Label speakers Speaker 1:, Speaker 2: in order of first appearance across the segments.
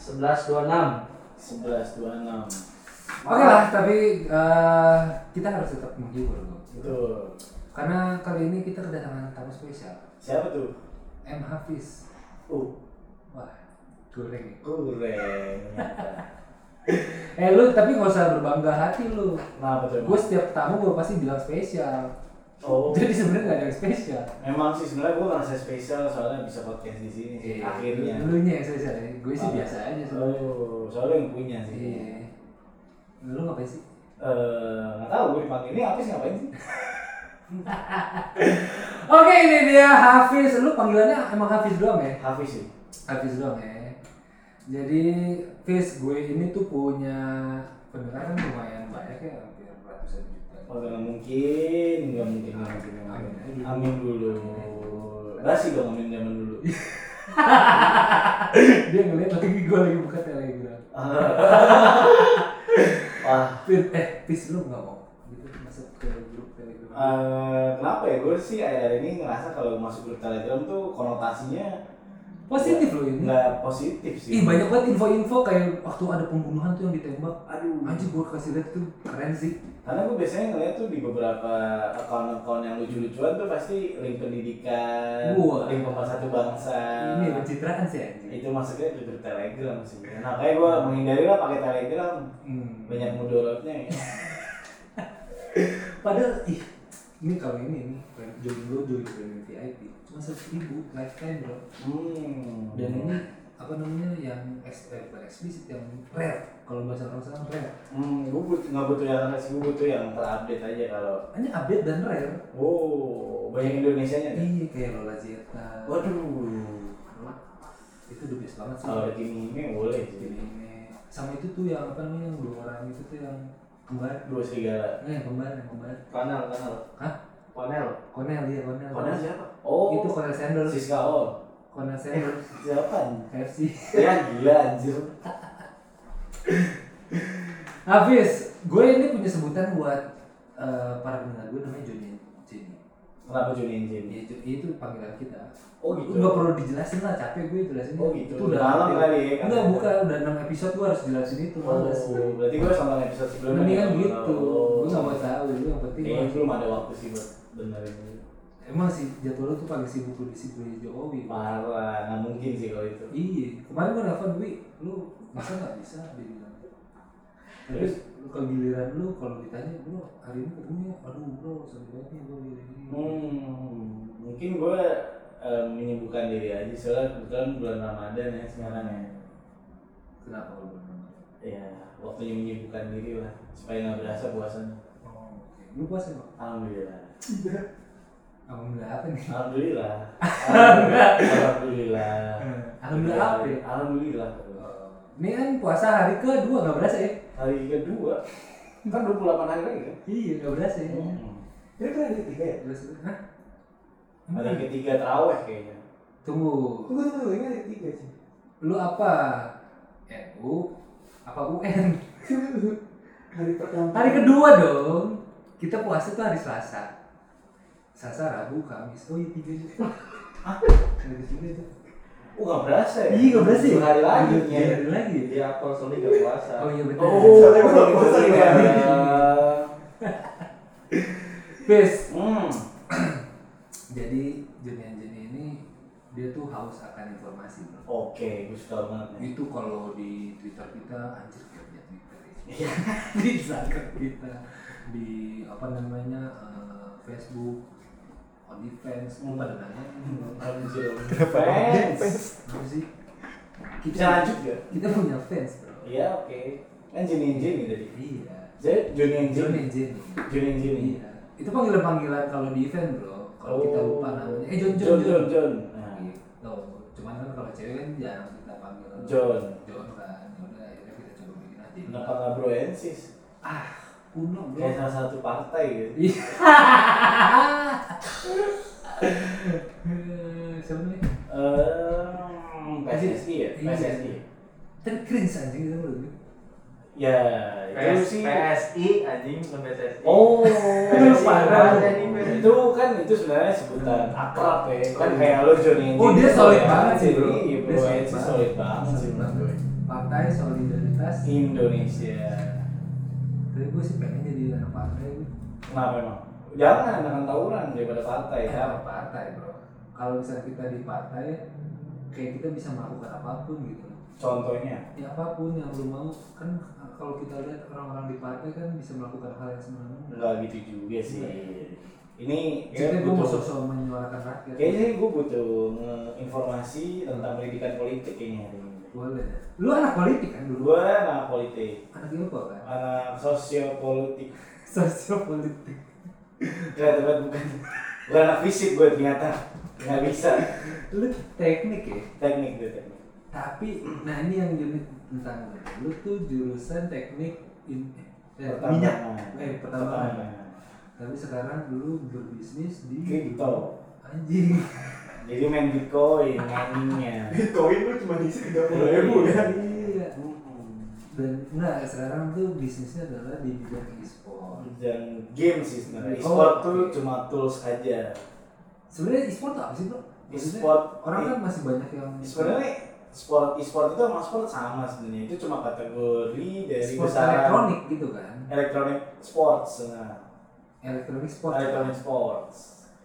Speaker 1: eh, kita harus tetap menghibur loh.
Speaker 2: Betul.
Speaker 1: Karena kali ini kita kedatangan tamu spesial,
Speaker 2: Siapa tuh?
Speaker 1: M Hafiz.
Speaker 2: Oh,
Speaker 1: Wah, goreng. nih.
Speaker 2: goreng.
Speaker 1: Eh lu tapi nggak usah berbangga hati lu.
Speaker 2: Kenapa tuh?
Speaker 1: Gue setiap tamu gue pasti bilang spesial.
Speaker 2: Oh,
Speaker 1: Jadi sebenarnya nggak ada yang spesial.
Speaker 2: memang sih sebenarnya gue ngerasa spesial soalnya bisa podcast di sini
Speaker 1: Iya.
Speaker 2: sih. Akhirnya.
Speaker 1: Lu nya yang spesial. ya, Gue sih
Speaker 2: Ah.
Speaker 1: biasa aja sebenarnya.
Speaker 2: Oh, soalnya yang punya sih.
Speaker 1: Iya. Lu ngapain sih?
Speaker 2: Eh, nggak tahu gue dipanggil ini habis ngapain sih?
Speaker 1: Oke ini dia Hafiz. Lu panggilannya emang Hafiz doang ya?
Speaker 2: Hafiz sih.
Speaker 1: Hafiz doang ya. Jadi Hafiz gue ini tuh punya pendengar kan lumayan banyak ya, hampir ratusan juta.
Speaker 2: Oh, nggak mungkin, nggak mungkin, nggak mungkin, nggak mungkin. Amin dulu. Basi dong amin zaman dulu.
Speaker 1: Dia ngeliat lagi gue lagi buka telegram.
Speaker 2: Ah. Wah,
Speaker 1: Fit, eh Hafiz lu nggak mau gitu masuk ke grup telegram?
Speaker 2: eh, kenapa ya? Gue sih akhir ini ngerasa kalau masuk grup Telegram tuh konotasinya
Speaker 1: Positif lo ini.
Speaker 2: nggak positif
Speaker 1: Ih
Speaker 2: sih.
Speaker 1: banyak banget info-info kayak waktu ada pembunuhan tuh yang ditembak.
Speaker 2: Aduh,
Speaker 1: Anjir gue kasih lihat tuh keren sih.
Speaker 2: Karena gue biasanya ngeliat tuh di beberapa akun-akun yang lucu-lucuan tuh pasti link pendidikan,
Speaker 1: Wah.
Speaker 2: link pemersatu bangsa.
Speaker 1: Ini ya. pencitraan sih anjir.
Speaker 2: Itu masuknya ke grup Telegram sih. Nah, kayak gue menghindari lah pakai Telegram.
Speaker 1: Hmm.
Speaker 2: Banyak mudaratnya ya.
Speaker 1: Padahal ih ini kalau ini nih join lo join premium VIP cuma seratus ribu lifetime bro.
Speaker 2: Hmm.
Speaker 1: Dan ini apa namanya yang eks- eh, bukan eksplisit yang rare kalau bahasa orang sekarang rare.
Speaker 2: Hmm, gue butuh nggak butuh yang res, gue butuh yang terupdate aja kalau.
Speaker 1: Hanya update dan rare.
Speaker 2: Wow, banyak Indonesianya nih.
Speaker 1: Iya kayak Lola Zeta.
Speaker 2: Waduh.
Speaker 1: Itu the best banget sih.
Speaker 2: Kalau ada Kimi ini boleh sih.
Speaker 1: Jadi ini sama itu tuh yang apa namanya yang dua orang itu tuh yang kembar.
Speaker 2: Dua serigala.
Speaker 1: Eh yang kembar yang kembar.
Speaker 2: Panel, panel.
Speaker 1: Hah?
Speaker 2: Panel.
Speaker 1: Konel dia Konel.
Speaker 2: Panel siapa? Oh,
Speaker 1: Itu kan. Konel Sanders.
Speaker 2: Siska Oh.
Speaker 1: Konel Sanders.
Speaker 2: Siapa?
Speaker 1: FC.
Speaker 2: Ya gila anjir.
Speaker 1: Hafiz, gue ini punya sebutan buat eh, para pendengar gue namanya Johnny Jenny.
Speaker 2: Kenapa Juni Juni?
Speaker 1: Ya, itu, itu panggilan kita.
Speaker 2: Oh gitu.
Speaker 1: Nggak perlu dijelasin lah, capek gue jelasin.
Speaker 2: Oh gitu.
Speaker 1: Itu udah
Speaker 2: malam kali ya. kan?
Speaker 1: Enggak, bukan udah 6 episode gue harus jelasin itu. Males.
Speaker 2: Oh, berarti gue sama episode sebelumnya.
Speaker 1: Mendingan
Speaker 2: nih.
Speaker 1: gitu.
Speaker 2: Oh.
Speaker 1: Gue nggak mau tahu, lu yang penting
Speaker 2: Kayaknya
Speaker 1: gua-
Speaker 2: belum ada waktu sih buat benerin.
Speaker 1: Emang sih jadwal lu tuh paling sibuk lu di sibuk Jokowi.
Speaker 2: Parah, nggak mungkin sih kalau itu.
Speaker 1: Iya, kemarin gue nelfon Wi, lu masa nggak bisa dia bilang. Terus lu kalau giliran lu kalau ditanya bro hari ini ketemunya aduh bro sampai banget nih bro gini gini."
Speaker 2: Oh. Hmm, mungkin gue eh, menyibukkan diri aja soalnya kebetulan bulan Ramadan ya sekarang ya.
Speaker 1: Kenapa lu belum nonton?
Speaker 2: Ya, waktunya menyibukkan diri lah supaya nggak berasa puasanya.
Speaker 1: Oh, oke. Lu puasa bang?
Speaker 2: Alhamdulillah.
Speaker 1: Alhamdulillah apa nih? Eh,
Speaker 2: Alhamdulillah. Alhamdulillah. Alhamdulillah.
Speaker 1: Eh, Alhamdulillah apa ya?
Speaker 2: Alhamdulillah.
Speaker 1: Eh, Ini kan puasa hari kedua nggak berasa ya?
Speaker 2: Hari kedua, ntar 28 hari lagi kan?
Speaker 1: Iya nggak berasa ya.
Speaker 2: Ini kan hari ketiga ya?
Speaker 1: Berasa. Hah?
Speaker 2: Hari ketiga terawih kayaknya.
Speaker 1: Tunggu,
Speaker 2: Tunggu tunggu, ini hari ketiga sih.
Speaker 1: lu apa? NU? Apa UN?
Speaker 2: hari pertama.
Speaker 1: Hari kedua dong. Kita puasa tuh hari Selasa. Selasa, Rabu, Kamis. Oh iya tiga juga. Nggak di sini tuh.
Speaker 2: Oh nggak berasa ya?
Speaker 1: Iya nggak berasa ya?
Speaker 2: Dua hari lagi.
Speaker 1: Tiga hari lagi. ya?
Speaker 3: Iya, kalau Sony gak puasa.
Speaker 1: Oh iya betul.
Speaker 2: Oh,
Speaker 3: Satu
Speaker 2: nggak
Speaker 3: hari
Speaker 2: berasa
Speaker 3: kedua.
Speaker 2: ya?
Speaker 1: Fis,
Speaker 2: Hmm.
Speaker 1: Jadi Junian Jeni ini dia tuh haus akan informasi. bro.
Speaker 2: Oke, gue suka banget nih.
Speaker 1: Itu kalau di Twitter kita anjir gak punya Twitter ya.
Speaker 2: Iya.
Speaker 1: di Instagram kita, di apa namanya eh, Facebook, OnlyFans,
Speaker 2: Hmm.
Speaker 1: lu pada nanya
Speaker 2: Anjir. Fans.
Speaker 1: apa sih?
Speaker 2: Bisa lanjut gak?
Speaker 1: kita punya fans bro.
Speaker 2: Iya oke. Kan Juni Juni tadi.
Speaker 1: Iya.
Speaker 2: Jadi Juni Juni.
Speaker 1: Joni Jeni.
Speaker 2: Juni Juni.
Speaker 1: Iya. Itu panggilan panggilan kalau di event bro. Kalau kita
Speaker 2: Oh.
Speaker 1: lupa namanya. Eh John John
Speaker 2: John John. John. Nah,
Speaker 1: Gitu. Cuman kan kalau cewek kan jarang kita panggil.
Speaker 2: John.
Speaker 1: John kan. Yaudah akhirnya kita coba bikin aja.
Speaker 2: Kenapa nggak broensis?
Speaker 1: Ah kuno bro.
Speaker 2: Nah. Kayak salah satu partai gitu.
Speaker 1: Iya. Eh, Siapa nih?
Speaker 2: Ehm, PSSI ya?
Speaker 1: Iya.
Speaker 2: PSSI
Speaker 1: Tapi cringe anjing itu menurut gue.
Speaker 2: ya? Ya, itu
Speaker 3: PS,
Speaker 2: sih
Speaker 3: PSI anjing bukan PSSI.
Speaker 1: Lu
Speaker 2: Oh, PSSI
Speaker 1: parah.
Speaker 2: parah. Itu kan itu sebenarnya sebutan akrab ya
Speaker 1: Hmm. Oh, iya.
Speaker 2: Kan kayak lo Johnny
Speaker 1: Oh, dia
Speaker 2: Engineer,
Speaker 1: solid
Speaker 2: ya.
Speaker 1: banget sih, bro.
Speaker 2: Iya,
Speaker 1: Dia
Speaker 2: bro,
Speaker 1: solid
Speaker 2: itu
Speaker 1: banget.
Speaker 2: solid banget sih
Speaker 1: Solid
Speaker 2: menurut gue.
Speaker 1: Partai solidaritas.
Speaker 2: Indonesia
Speaker 1: Tapi gue sih pengen jadi anak partai gue
Speaker 2: Kenapa emang? Jangan, jangan tawuran daripada partai.
Speaker 1: kita
Speaker 2: Ya.
Speaker 1: nggak partai bro kalau misalnya kita di partai kayak kita bisa melakukan apapun gitu
Speaker 2: Contohnya,
Speaker 1: ya apapun yang lu mau kan kalau kita lihat orang-orang di partai kan bisa melakukan hal yang sebenarnya
Speaker 2: nggak gitu juga sih.
Speaker 1: Iya.
Speaker 2: Ini
Speaker 1: jadi
Speaker 2: kayaknya
Speaker 1: gue mau
Speaker 2: butuh,
Speaker 1: sosok menyuarakan rakyat
Speaker 2: kayaknya gue butuh nge- informasi tentang pendidikan politik kayaknya hari ini.
Speaker 1: boleh lu anak politik kan dulu
Speaker 2: Gue anak politik,
Speaker 1: anak ilmu kan
Speaker 2: anak sosiopolitik.
Speaker 1: sosiopolitik
Speaker 2: Kelihatan banget bukan, bukan anak fisik gue ternyata. Nggak bisa,
Speaker 1: lu teknik ya
Speaker 2: teknik gue teknik.
Speaker 1: tapi nah ini yang unik tentang lu lu tuh jurusan teknik in, eh,
Speaker 2: Pertambangan.
Speaker 1: minyak eh pertambangan
Speaker 2: Pertambangan.
Speaker 1: tapi sekarang lu berbisnis di
Speaker 2: Kripto.
Speaker 1: anjing
Speaker 2: Jadi main bitcoin, miningnya.
Speaker 3: Bitcoin lu cuma diisi tiga
Speaker 2: ya? kan?
Speaker 1: iya dan nah sekarang tuh bisnisnya adalah di bidang e-sport
Speaker 2: dan game sih sebenarnya.
Speaker 1: Oh.
Speaker 2: E-sport tuh cuma tools aja.
Speaker 1: sebenarnya e-sport tuh apa sih bro Maksudnya,
Speaker 2: E-sport e-
Speaker 1: orang kan masih banyak yang
Speaker 2: sebenarnya sport e-sport itu sama sport sama sebenarnya. Itu cuma kategori dari
Speaker 1: sport
Speaker 2: besaran
Speaker 1: elektronik gitu kan
Speaker 2: electronic sports. Nah,
Speaker 1: elektronik sport
Speaker 2: electronic sports.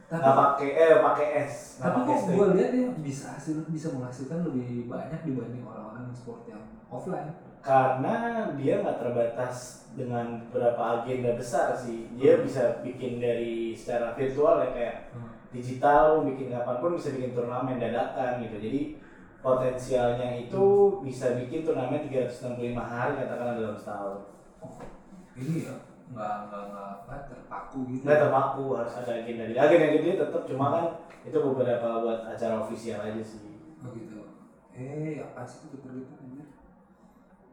Speaker 1: tapi
Speaker 2: Nggak pakai eh pakai S. Nggak
Speaker 1: tapi
Speaker 2: pakai
Speaker 1: kok
Speaker 2: S.
Speaker 1: gue lihat dia bisa hasil bisa menghasilkan lebih banyak dibanding orang-orang yang sport yang offline
Speaker 2: Karena dia nggak terbatas dengan beberapa agenda besar sih. Dia
Speaker 1: Hmm.
Speaker 2: bisa bikin dari secara virtual ya kayak
Speaker 1: Hmm.
Speaker 2: digital lu bikin kapanpun bisa bikin turnamen dadakan gitu jadi potensialnya itu bisa bikin turnamen 365 hari katakanlah dalam setahun
Speaker 1: Oh, ini ya nggak nggak nggak apa terpaku gitu
Speaker 2: nggak terpaku harus ada agenda dia agenda dia tetap cuma kan itu beberapa buat acara ofisial aja sih
Speaker 1: oh, gitu eh apa sih itu gitu anjir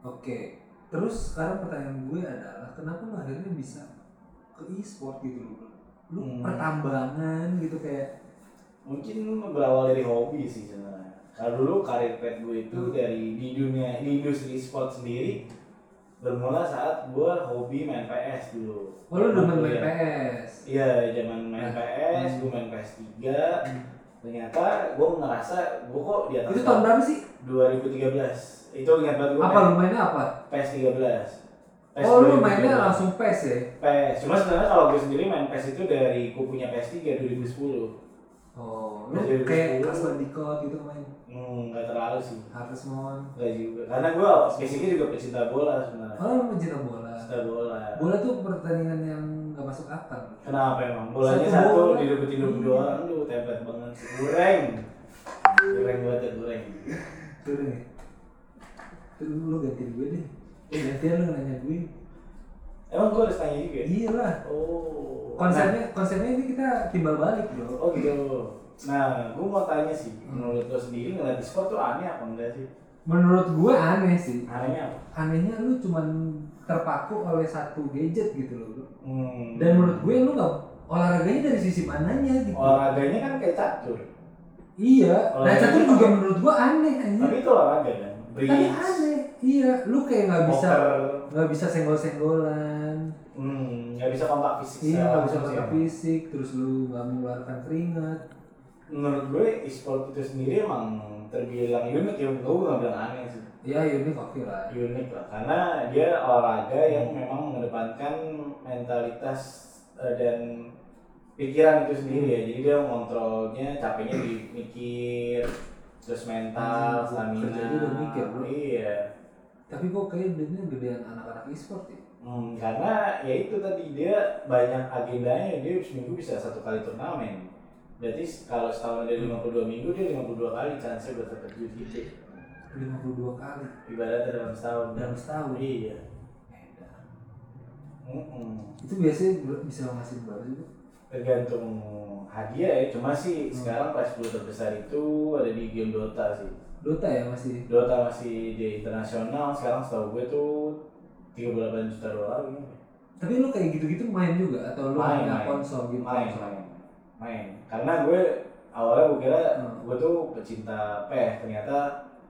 Speaker 1: oke terus sekarang pertanyaan gue adalah kenapa lu akhirnya bisa ke e-sport gitu loh bro? lu
Speaker 2: Hmm.
Speaker 1: pertambangan gitu kayak
Speaker 2: mungkin berawal dari hobi sih sebenarnya kalau dulu karir pet gue itu
Speaker 1: Hmm.
Speaker 2: dari di dunia di industri sport sendiri bermula saat gue hobi main PS dulu
Speaker 1: oh lu udah main
Speaker 2: Iya.
Speaker 1: PS
Speaker 2: Iya, zaman main
Speaker 1: Nah.
Speaker 2: PS, gue main PS 3 Ternyata gue ngerasa gue kok di atas
Speaker 1: itu tahun berapa sih
Speaker 2: 2013 Itu ingat banget gue
Speaker 1: apa lu mainnya apa
Speaker 2: PS 13
Speaker 1: oh lu mainnya langsung PS ya
Speaker 2: PS, cuma sebenarnya kalau gue sendiri main PS itu dari kupunya PS 3 2010
Speaker 1: oh lu
Speaker 2: Masih
Speaker 1: kayak
Speaker 2: 2010.
Speaker 1: Crash Bandicoot gitu main
Speaker 2: Hmm, nggak terlalu sih
Speaker 1: Harvest Moon
Speaker 2: Nggak juga, karena gue basicnya juga pecinta bola sebenarnya
Speaker 1: oh lu pecinta bola
Speaker 2: Pecinta bola
Speaker 1: bola tuh pertandingan yang nggak masuk akal bro.
Speaker 2: Kenapa emang? Bolanya
Speaker 1: Satu
Speaker 2: satu,
Speaker 1: bola. Hmm.
Speaker 2: direbutin dua dua orang, aduh tepet banget Goreng Goreng banget ya, goreng
Speaker 1: Turun ya? Turun lu gantiin gue deh Gantian lu nanya gue
Speaker 2: Emang gue harus tanya juga? ya?
Speaker 1: Iya lah
Speaker 2: Oh.
Speaker 1: Konsepnya, konsepnya ini kita timbal balik
Speaker 2: Nah,
Speaker 1: bro
Speaker 2: oh gitu. Nah, gue mau tanya sih,
Speaker 1: Hmm.
Speaker 2: menurut lo sendiri ngeliat e-sport tuh aneh apa enggak sih?
Speaker 1: Menurut gue aneh sih
Speaker 2: Anehnya apa?
Speaker 1: Anehnya lu cuman terpaku oleh satu gadget gitu loh bro
Speaker 2: Hmm.
Speaker 1: Dan menurut gue lu gak olahraganya dari sisi mananya gitu
Speaker 2: olahraganya kan kayak catur,
Speaker 1: Iya Nah
Speaker 2: Olahraganya
Speaker 1: catur
Speaker 2: apa?
Speaker 1: juga menurut gue aneh anjir
Speaker 2: tapi itu olahraga kan.
Speaker 1: Tapi
Speaker 2: Bridge,
Speaker 1: Iya. aneh Iya lu kayak gak bisa
Speaker 2: poker,
Speaker 1: nggak bisa senggol-senggolan
Speaker 2: hmm, nggak bisa kontak fisik.
Speaker 1: Iya
Speaker 2: secara
Speaker 1: nggak bisa
Speaker 2: langsung sih
Speaker 1: kontak
Speaker 2: emang.
Speaker 1: fisik Terus lu gak mengeluarkan keringat
Speaker 2: Menurut gue e-sport itu sendiri emang terbilang unik ya, gue nggak bilang aneh sih.
Speaker 1: Ya unik oke lah
Speaker 2: unik lah karena dia olahraga yang memang mengedepankan mentalitas eh, dan pikiran itu sendiri ya jadi dia ngontrolnya capeknya di mikir terus mental
Speaker 1: Hmm,
Speaker 2: stamina
Speaker 1: kerjanya udah mikir, bro.
Speaker 2: iya
Speaker 1: tapi kok kayak duitnya gedean anak-anak e-sport ya
Speaker 2: Hmm, karena ya itu tadi dia banyak agendanya dia seminggu bisa satu kali turnamen berarti kalau setahun ada 52 minggu dia 52 kali chance buat terkejut gitu
Speaker 1: 52 kali
Speaker 2: ibaratnya dalam setahun
Speaker 1: dalam setahun
Speaker 2: iya
Speaker 1: Edan.
Speaker 2: Mm-mm.
Speaker 1: itu biasanya ber- bisa ngasih berapa sih Bu?
Speaker 2: Hmm. tergantung hadiah ya cuma sih
Speaker 1: Hmm.
Speaker 2: sekarang prize pool terbesar itu ada di game Dota sih
Speaker 1: Dota ya masih
Speaker 2: Dota masih di internasional sekarang setahu gue tuh 38 juta dolar gitu.
Speaker 1: tapi lu kayak gitu-gitu main juga atau lu
Speaker 2: Main,
Speaker 1: punya
Speaker 2: main.
Speaker 1: konsol gitu
Speaker 2: main
Speaker 1: konsol?
Speaker 2: main main karena gue awalnya gue kira
Speaker 1: Hmm. Iya.
Speaker 2: gue tuh pecinta PES ternyata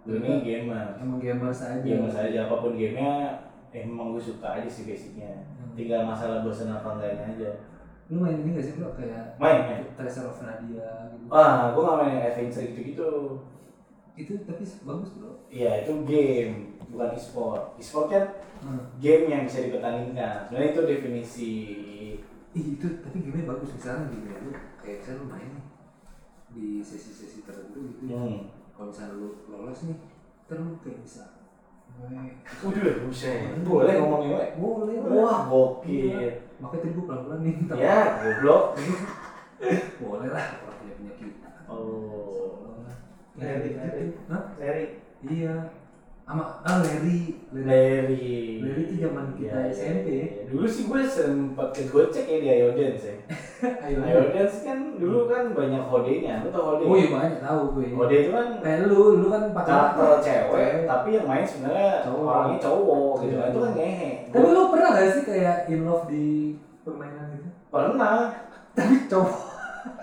Speaker 2: gue ini gamer
Speaker 1: emang gamers aja
Speaker 2: gamer saja apapun gamenya emang gue suka aja sih basicnya
Speaker 1: Hmm.
Speaker 2: tinggal masalah bosan apa enggaknya aja
Speaker 1: lu main ini gak sih bro kayak
Speaker 2: main main
Speaker 1: Tracer of Nadia gitu
Speaker 2: wah gue gak main yang adventure gitu gitu
Speaker 1: itu tapi bagus bro
Speaker 2: Iya itu game bukan e-sport. E-sport kan
Speaker 1: Hmm.
Speaker 2: game yang bisa dipertandingkan. Sebenarnya itu definisi
Speaker 1: Ih, itu tapi gamenya bagus misalnya gini ya, lu kayak misalnya lu main nih di sesi-sesi tertentu gitu ya
Speaker 2: hmm.
Speaker 1: kalau misalnya lu lolos nih ntar lu kayak bisa "Weh, ya,
Speaker 2: Udah buset. Boleh ngomongin gue.
Speaker 1: boleh
Speaker 2: Eh, Wah
Speaker 1: wah
Speaker 2: gokil.
Speaker 1: makanya tadi gue pelan-pelan nih ntar
Speaker 2: Ya goblok.
Speaker 1: boleh lah orang punya penyakit
Speaker 2: Oh. iya,
Speaker 1: Ya,
Speaker 3: Larry,
Speaker 1: gitu.
Speaker 3: Larry.
Speaker 1: Hah?
Speaker 3: Larry
Speaker 1: iya sama ah Larry Larry
Speaker 2: Larry.
Speaker 1: Larry itu zaman kita
Speaker 2: Iya, iya,
Speaker 1: SMP.
Speaker 2: iya. Dulu sih gue sempat ke Gojek ya di Ayodance ya.
Speaker 1: ayo
Speaker 2: Ayodance kan dulu kan banyak hodenya. Lu tau hode?
Speaker 1: Hmm. oh iya banyak tahu gue
Speaker 2: Hode itu kan
Speaker 1: eh lu lu kan
Speaker 2: karakter
Speaker 1: pacaran
Speaker 2: cewek, tapi yang main sebenarnya
Speaker 1: Cowok.
Speaker 2: orangnya cowok gitu kan
Speaker 1: Iya.
Speaker 2: itu kan ngehe.
Speaker 1: tapi
Speaker 2: Gue
Speaker 1: lu pernah gak sih kayak in love di permainan gitu
Speaker 2: pernah.
Speaker 1: tapi cowok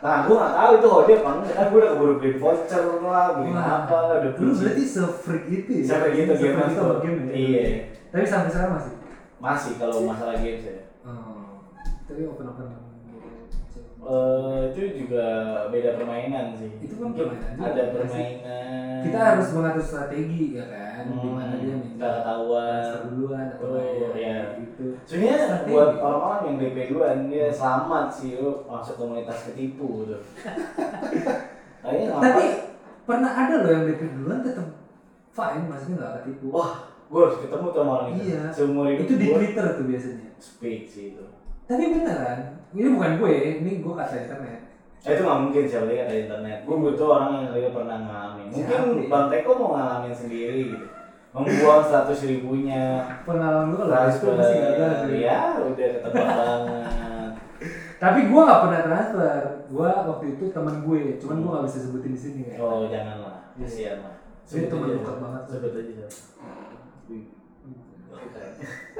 Speaker 2: Nah, gue nggak tahu itu hode apa enggak. Kan gue udah keburu beli voucher lah, beli
Speaker 1: Wah.
Speaker 2: apa lah, udah
Speaker 1: lu
Speaker 2: beli.
Speaker 1: berarti se-freak itu ya
Speaker 2: Sampai gitu game
Speaker 1: Se-freak
Speaker 2: itu.
Speaker 1: sama game ya
Speaker 2: Iya.
Speaker 1: tapi sampai sekarang masih
Speaker 2: Masih kalau masalah games ya.
Speaker 1: Hmm, tapi open open
Speaker 2: Eh, itu juga beda permainan sih.
Speaker 1: Itu kan permainan juga,
Speaker 2: Ada
Speaker 1: pasti.
Speaker 2: permainan.
Speaker 1: kita harus mengatur strategi ya kan
Speaker 2: Hmm,
Speaker 1: dimana dia minta
Speaker 2: nggak ketahuan.
Speaker 1: transfer duluan atau
Speaker 2: Oh,
Speaker 1: bayar,
Speaker 2: iya.
Speaker 1: gitu
Speaker 2: Sebenarnya
Speaker 1: Strategi.
Speaker 2: buat orang-orang yang DP duluan dia selamat sih lu masuk komunitas ketipu gitu. Kayaknya nggak
Speaker 1: tapi
Speaker 2: apa-
Speaker 1: pernah ada loh yang DP duluan tetap fine maksudnya nggak ketipu
Speaker 2: wah gue harus ketemu tuh sama orang itu.
Speaker 1: Iya.
Speaker 2: Seumur hidup
Speaker 1: itu di
Speaker 2: gua
Speaker 1: Twitter tuh biasanya
Speaker 2: speak sih itu.
Speaker 1: tapi beneran ini bukan gue ini gue kata internet
Speaker 2: Eh, itu nggak mungkin sih lihat dari internet. Gue butuh orang yang real pernah ngalamin. Mungkin
Speaker 1: Siapa ya?
Speaker 2: Bang Teko mau ngalamin sendiri gitu. Membuang seratus ribunya.
Speaker 1: pengalaman gue kalau itu
Speaker 2: Transfer.
Speaker 1: masih gagal sih.
Speaker 2: Ya udah ketebak banget.
Speaker 1: tapi gue nggak pernah transfer gue waktu itu teman gue cuman gue nggak bisa sebutin di sini kan
Speaker 2: Oh janganlah,
Speaker 1: Iya.
Speaker 2: kasihan lah.
Speaker 1: Ini temen
Speaker 2: aja.
Speaker 1: dekat banget.
Speaker 2: Sebut aja.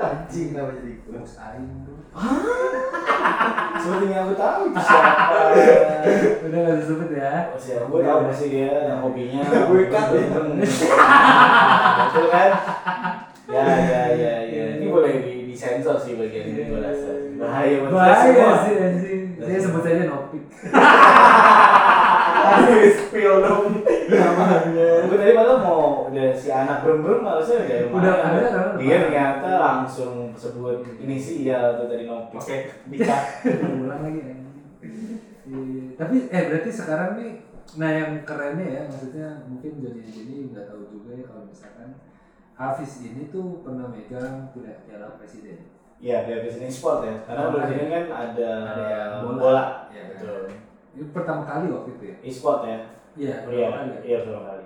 Speaker 3: anjing kenapa jadi gue
Speaker 1: Bos Aing tuh
Speaker 2: Sepertinya aku tahu itu siapa.
Speaker 1: udah nggak bisa sebut ya
Speaker 2: Oh, siapa? Gue tahu pasti dia yang hobinya.
Speaker 3: Gue
Speaker 1: kan.
Speaker 3: cut ya.
Speaker 2: Betul kan? Ya ya ya ya. Ini boleh di disensor sih bagian ini gue Iya, rasa. Bahaya buat kita
Speaker 1: bahaya
Speaker 2: semua.
Speaker 1: sih anjing saya sebut saja Nopik
Speaker 2: Aduh, spill dong namanya. Gue tadi malah mau udah si anak belum harusnya udah
Speaker 1: Udah,
Speaker 2: lumayan.
Speaker 1: ada, ada, ada.
Speaker 2: Dia ternyata langsung sebut inisial tuh tadi nopi.
Speaker 3: oke Dika
Speaker 1: ulang lagi ya. Iya, tapi eh berarti sekarang nih nah yang kerennya ya maksudnya mungkin Johnny and Jenny nggak tahu juga ya kalau misalkan Hafiz ini tuh pernah megang tidak piala presiden
Speaker 2: Iya, di habis ini sport ya. Karena
Speaker 1: Ada.
Speaker 2: di sini kan ada,
Speaker 1: Ada yang bola.
Speaker 2: bola.
Speaker 1: Iya,
Speaker 2: betul.
Speaker 1: ini pertama kali waktu itu ya
Speaker 2: E-sport ya.
Speaker 1: iya
Speaker 2: Iya,
Speaker 1: pertama kali ya
Speaker 2: iya betul kali.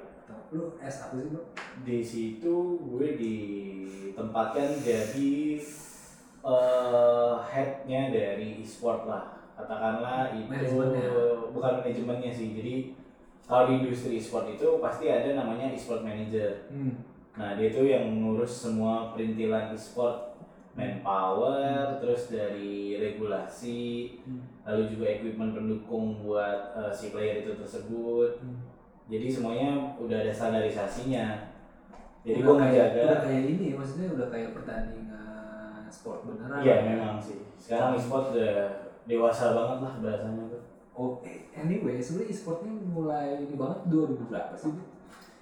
Speaker 1: lu S apa sih lu
Speaker 2: Di situ gue ditempatkan jadi eh headnya dari e-sport lah. Katakanlah itu
Speaker 1: Manajemennya.
Speaker 2: bukan manajemennya sih. Jadi kalau di industri e-sport itu pasti ada namanya e-sport manager.
Speaker 1: hmm.
Speaker 2: Nah, dia tuh yang ngurus semua perintilan e-sport, manpower, terus dari regulasi,
Speaker 1: Hmm.
Speaker 2: lalu juga equipment pendukung buat eh, si player itu tersebut.
Speaker 1: hmm.
Speaker 2: Jadi semuanya udah ada standarisasinya. Jadi
Speaker 1: Udah
Speaker 2: gue
Speaker 1: kayak- udah
Speaker 2: menjaga.
Speaker 1: kayak ini ya maksudnya udah kayak pertandingan sport beneran
Speaker 2: Iya, memang sih. Sekarang e-sport udah dewasa banget lah bahasanya tuh.
Speaker 1: oh eh, anyway sebenarnya e-sport ini mulai ini banget 2000 berapa sih Bu?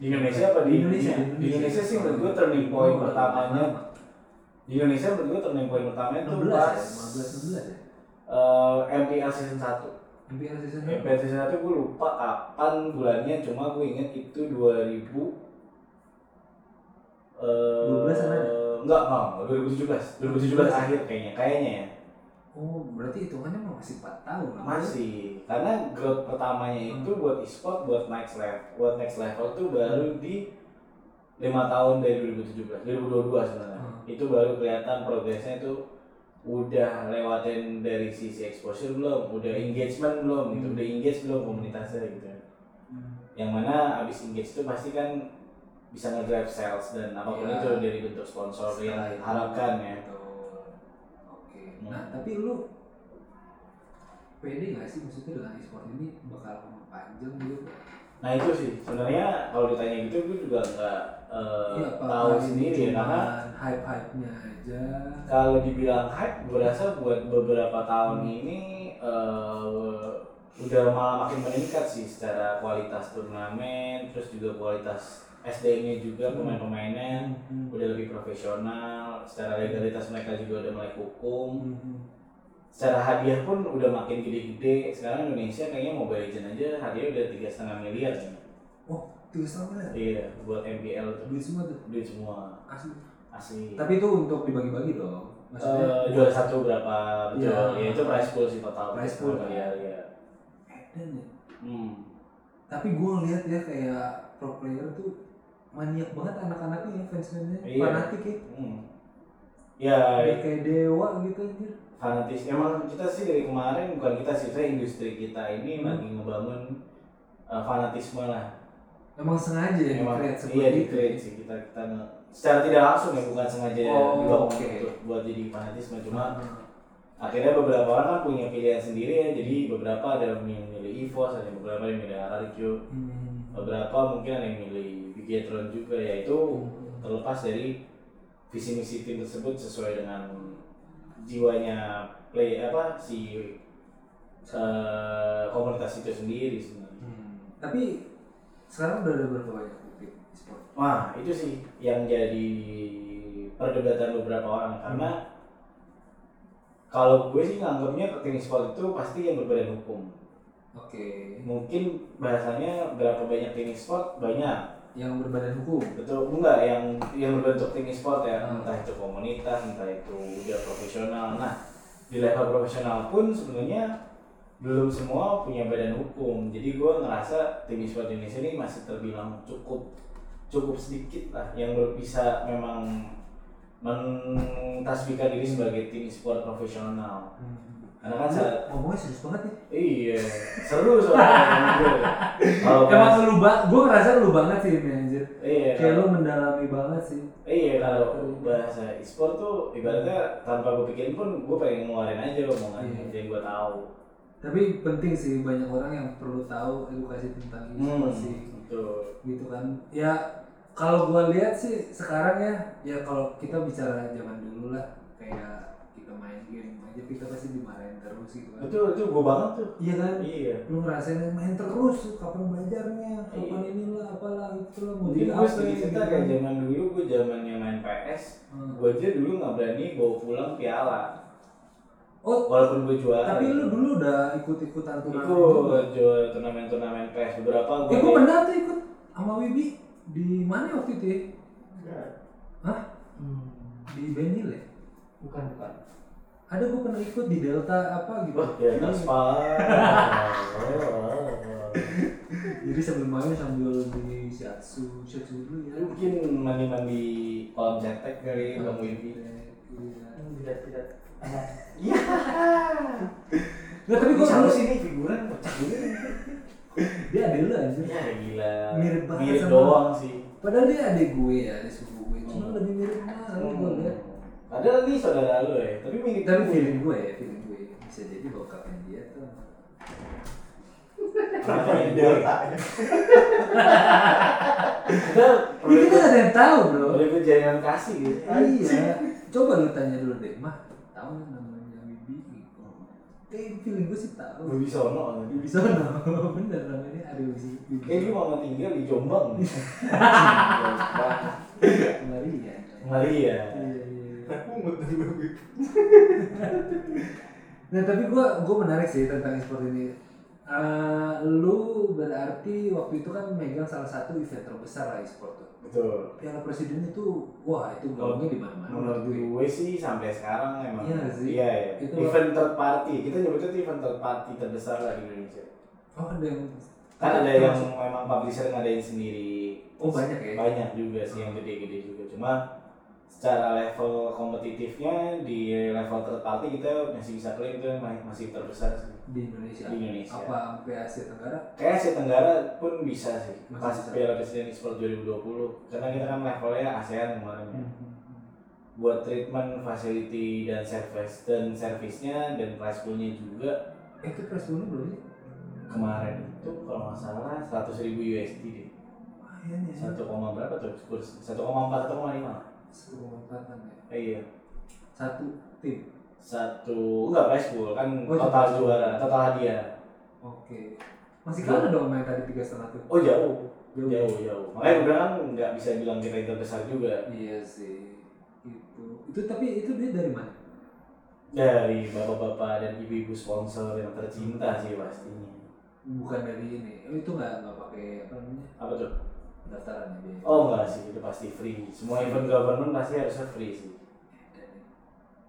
Speaker 2: Di Indonesia apa di,
Speaker 1: Di Indonesia,
Speaker 2: dunia?
Speaker 1: di Iya,
Speaker 2: Di
Speaker 1: Indonesia.
Speaker 2: Indonesia sih menurut gue turning point
Speaker 1: Oh,
Speaker 2: pertamanya. Di Indonesia menurut gue turning point pertamanya tuh
Speaker 1: 16 ya
Speaker 2: pas
Speaker 1: 15 16 ya
Speaker 2: eh, MPL season 1.
Speaker 1: MPL season berapa?
Speaker 2: MPL season 1 gue lupa kapan bulannya cuma gue inget itu 2000 eh
Speaker 1: 12 apa ya?
Speaker 2: enggak enggak enggak, 2017 2017 akhir kayaknya kayaknya ya
Speaker 1: Oh, berarti hitungannya mah masih 4 tahun lah.
Speaker 2: masih karena growth pertamanya
Speaker 1: Hmm.
Speaker 2: itu buat e-sport buat next level buat next level tuh baru
Speaker 1: Hmm.
Speaker 2: di lima tahun dari 2017 2022 sebenarnya
Speaker 1: Hmm.
Speaker 2: itu baru kelihatan progresnya itu udah lewatin dari sisi exposure belum udah engagement belum gitu
Speaker 1: Hmm.
Speaker 2: udah engage belum komunitasnya gitu yang mana abis engage itu pasti kan bisa ngedrive sales dan apapun
Speaker 1: Iya.
Speaker 2: itu dari bentuk sponsor
Speaker 1: Setelah
Speaker 2: yang
Speaker 1: itu,
Speaker 2: harapkan ya
Speaker 1: betul. Oke.
Speaker 2: Hmm.
Speaker 1: Nah, tapi lu pede gak sih maksudnya dengan e-sport ini bakal panjang gitu?
Speaker 2: nah itu sih sebenarnya kalau ditanya gitu gue juga nggak eh,
Speaker 1: Iya, apa
Speaker 2: tahu
Speaker 1: ini
Speaker 2: sendiri ya
Speaker 1: cuman
Speaker 2: karena
Speaker 1: hype-hype-nya aja.
Speaker 2: kalau dibilang hype gue rasa buat beberapa tahun ini eh, udah malah makin meningkat sih secara kualitas turnamen terus juga kualitas SDM-nya juga pemain-pemainnya
Speaker 1: Hmm.
Speaker 2: Hmm. udah lebih profesional secara legalitas mereka juga udah mulai
Speaker 1: Hmm,
Speaker 2: hukum secara hadiah pun udah makin gede-gede sekarang Indonesia kayaknya Mobile Legends aja hadiah udah tiga setengah miliar nih.
Speaker 1: Tiga setengah miliar.
Speaker 2: iya buat MPL tuh
Speaker 1: Duit semua tuh
Speaker 2: duit semua
Speaker 1: asli.
Speaker 2: asli
Speaker 1: Tapi itu untuk dibagi-bagi dong. Maksudnya
Speaker 2: Iya. Eh, juara satu berapa betul
Speaker 1: Iya.
Speaker 2: ya itu prize pool sih total
Speaker 1: Prize pool.
Speaker 2: ya, ya.
Speaker 1: edan ya.
Speaker 2: Hmm.
Speaker 1: Tapi gue lihat ya kayak pro player tuh maniak banget anak-anaknya ya fansnya
Speaker 2: Iya.
Speaker 1: fanatik ya.
Speaker 2: hmm. ya
Speaker 1: Udah kayak dewa gitu anjir.
Speaker 2: fanatis emang kita sih dari kemarin bukan kita sih saya industri kita ini
Speaker 1: Hmm.
Speaker 2: lagi ngebangun eh, fanatisme lah
Speaker 1: Emang sengaja ya
Speaker 2: Emang-
Speaker 1: di-create
Speaker 2: iya
Speaker 1: seperti
Speaker 2: di
Speaker 1: itu.
Speaker 2: create sih kita kita nge- secara tidak langsung ya bukan sengaja
Speaker 1: Oh,
Speaker 2: dibangun
Speaker 1: oke.
Speaker 2: untuk buat jadi fanatisme cuma
Speaker 1: Cuma
Speaker 2: akhirnya beberapa orang kan punya pilihan sendiri ya jadi beberapa ada yang milih EVOS ada yang beberapa yang milih Ararikyo beberapa mungkin ada yang milih Bigetron juga ya itu terlepas dari visi misi tim tersebut sesuai dengan jiwanya play apa si eh, komunitas itu sendiri sebenarnya.
Speaker 1: Hmm. Tapi sekarang udah ada berapa banyak tim e-sport?
Speaker 2: Wah itu sih yang jadi perdebatan beberapa orang karena kalau gue sih nganggapnya tim sport itu pasti yang berbadan hukum.
Speaker 1: Oke,
Speaker 2: Mungkin bahasanya berapa banyak tim sport banyak
Speaker 1: yang berbadan hukum.
Speaker 2: betul enggak yang yang berbentuk tim e-sport ya
Speaker 1: Hmm.
Speaker 2: entah itu komunitas entah itu udah profesional nah di level profesional pun sebenarnya belum semua punya badan hukum jadi gue ngerasa tim e-sport Indonesia ini masih terbilang cukup cukup sedikit lah yang ber- bisa memang mentasbihkan diri sebagai tim e-sport profesional karena kan saat
Speaker 1: Lu Hmm. ngomongnya serius banget ya. nih.
Speaker 2: iya seru soalnya kalau
Speaker 1: Emang
Speaker 2: bahas-
Speaker 1: lu ba- gue ngerasa lu banget sih ini anjir.
Speaker 2: iya
Speaker 1: Kayak lu mendalami banget sih.
Speaker 2: Iya kalau bahasa e-sport tuh ibaratnya tanpa gue pikirin pun gue pengen ngeluarin aja omongannya
Speaker 1: Iya.
Speaker 2: yang gue tahu.
Speaker 1: Tapi penting sih banyak orang yang perlu tahu edukasi tentang
Speaker 2: Hmm.
Speaker 1: e-sport sih.
Speaker 2: Betul.
Speaker 1: gitu kan ya kalau gua lihat sih sekarang ya ya kalau kita bicara zaman dulu lah kayak kita main game aja kita pasti dimarahin terus gitu kan
Speaker 2: Betul itu gue banget tuh.
Speaker 1: iya kan
Speaker 2: Iya.
Speaker 1: lu ngerasain main terus kapan belajarnya kapan
Speaker 2: Iya.
Speaker 1: inilah apalah itulah mau
Speaker 2: Mungkin
Speaker 1: jadi
Speaker 2: gue
Speaker 1: apa,
Speaker 2: sering
Speaker 1: gitu,
Speaker 2: cerita
Speaker 1: gitu.
Speaker 2: kayak zaman dulu gue zamannya main PS,
Speaker 1: Hmm.
Speaker 2: gue aja dulu nggak berani bawa pulang piala.
Speaker 1: oh
Speaker 2: Walaupun gue juara.
Speaker 1: tapi lu
Speaker 2: gitu.
Speaker 1: dulu udah ikut ikutan turnamen juga
Speaker 2: ikut juara turnamen-turnamen PS beberapa
Speaker 1: eh
Speaker 2: gue.
Speaker 1: gua pernah tuh ikut sama Wibi di mana waktu itu ya?
Speaker 3: Hmm,
Speaker 1: di Benil ya
Speaker 3: bukan bukan.
Speaker 1: ada gua pernah ikut di Delta apa gitu
Speaker 2: Wah, di atas pala.
Speaker 1: Jadi sebelum main sambil di shiatsu, shiatsu dulu ya.
Speaker 2: Mungkin mandi-mandi kolam cetek dari Bang Wibi.
Speaker 1: Iya.
Speaker 3: Hmm, Tidak tidak. Anak.
Speaker 2: Iya.
Speaker 1: Nggak, tapi gua dulu sih
Speaker 2: sini figuran kocak juga.
Speaker 1: ya. dia ada lu anjir.
Speaker 2: Ya gila.
Speaker 1: Mirip banget sama-
Speaker 2: doang sih.
Speaker 1: Padahal dia adik gue ya, adik sepupu gue. Cuma
Speaker 2: Hmm.
Speaker 1: lebih mirip banget gue liat.
Speaker 2: Padahal nih Hmm. saudara lu ya, tapi mirip
Speaker 1: Tapi
Speaker 2: gue.
Speaker 1: feeling gue ya, feeling gue bisa jadi bokapnya dia tuh.
Speaker 2: Makanya
Speaker 3: Anak
Speaker 2: gue.
Speaker 3: delta.
Speaker 2: Kita
Speaker 1: Ini kita nggak ada yang tahu bro.
Speaker 2: boleh gue jaringan kasih gitu.
Speaker 1: Iya. Coba lu tanya dulu deh, mah tahu nggak namanya Bibi? Gitu. Eh, feeling gue sih tahu.
Speaker 2: Gue bisa ono.
Speaker 1: Bibi Sono, bener namanya ada Bibi.
Speaker 2: Kayak dia mau tinggal di Jombang.
Speaker 1: Maria.
Speaker 2: Maria.
Speaker 1: Iya, iya. iya.
Speaker 3: Pungut tadi bagus.
Speaker 1: Nah tapi gue gue menarik sih tentang e-sport ini. Eh, lu berarti waktu itu kan megang salah satu event terbesar lah e-sport tuh.
Speaker 2: Betul.
Speaker 1: Piala Presiden itu wah itu gaungnya di mana-mana.
Speaker 2: Menurut gue sih sampai sekarang emang
Speaker 1: Iya sih.
Speaker 2: Iya, iya.
Speaker 1: Itu-
Speaker 2: Event third party. Kita nyebutnya tuh event third party terbesar lah di Indonesia.
Speaker 1: Oh ada yang
Speaker 2: kan ada yang memang publisher ngadain sendiri
Speaker 1: Iya. Oh, banyak ya?
Speaker 2: banyak juga sih yang gede-gede juga cuma secara level kompetitifnya di level third party kita masih bisa klaim itu ma- masih terbesar sih
Speaker 1: di Indonesia.
Speaker 2: di Indonesia
Speaker 1: Iya. Apa sampai Asia Tenggara?
Speaker 2: kayak Asia Tenggara pun bisa sih
Speaker 1: Masih
Speaker 2: pas
Speaker 1: bisa.
Speaker 2: Piala Presiden Esport 2020 karena kita kan levelnya ASEAN kemarin
Speaker 1: Hmm.
Speaker 2: ya. buat treatment facility dan service dan servisnya dan price poolnya juga
Speaker 1: Eh, itu press dulu belum sih?
Speaker 2: kemarin itu kalau nggak salah 100.000 USD deh
Speaker 1: Lumayan ya.
Speaker 2: satu koma berapa tuh kurs satu koma empat satu koma lima
Speaker 1: Satu lompatan ya.
Speaker 2: Eh, iya
Speaker 1: Satu tim.
Speaker 2: satu enggak prize pool kan
Speaker 1: Oh,
Speaker 2: total
Speaker 1: itu.
Speaker 2: juara total hadiah
Speaker 1: Oke. Masih kalah dong main tadi tiga setengah tuh.
Speaker 2: Oh jauh,
Speaker 1: Jauh.
Speaker 2: jauh, jauh. Makanya gue bilang kan nggak bisa bilang kita yang terbesar juga
Speaker 1: Iya sih. gitu. Itu. Itu tapi itu dia dari mana?
Speaker 2: dari bapak-bapak dan ibu-ibu sponsor yang tercinta sih pastinya.
Speaker 1: Bukan dari ini. Oh, Itu nggak nggak pakai apa namanya ya,
Speaker 2: Apa tuh?
Speaker 1: daftarannya dia.
Speaker 2: Oh enggak sih, itu pasti free. Semua event government pasti harusnya free sih.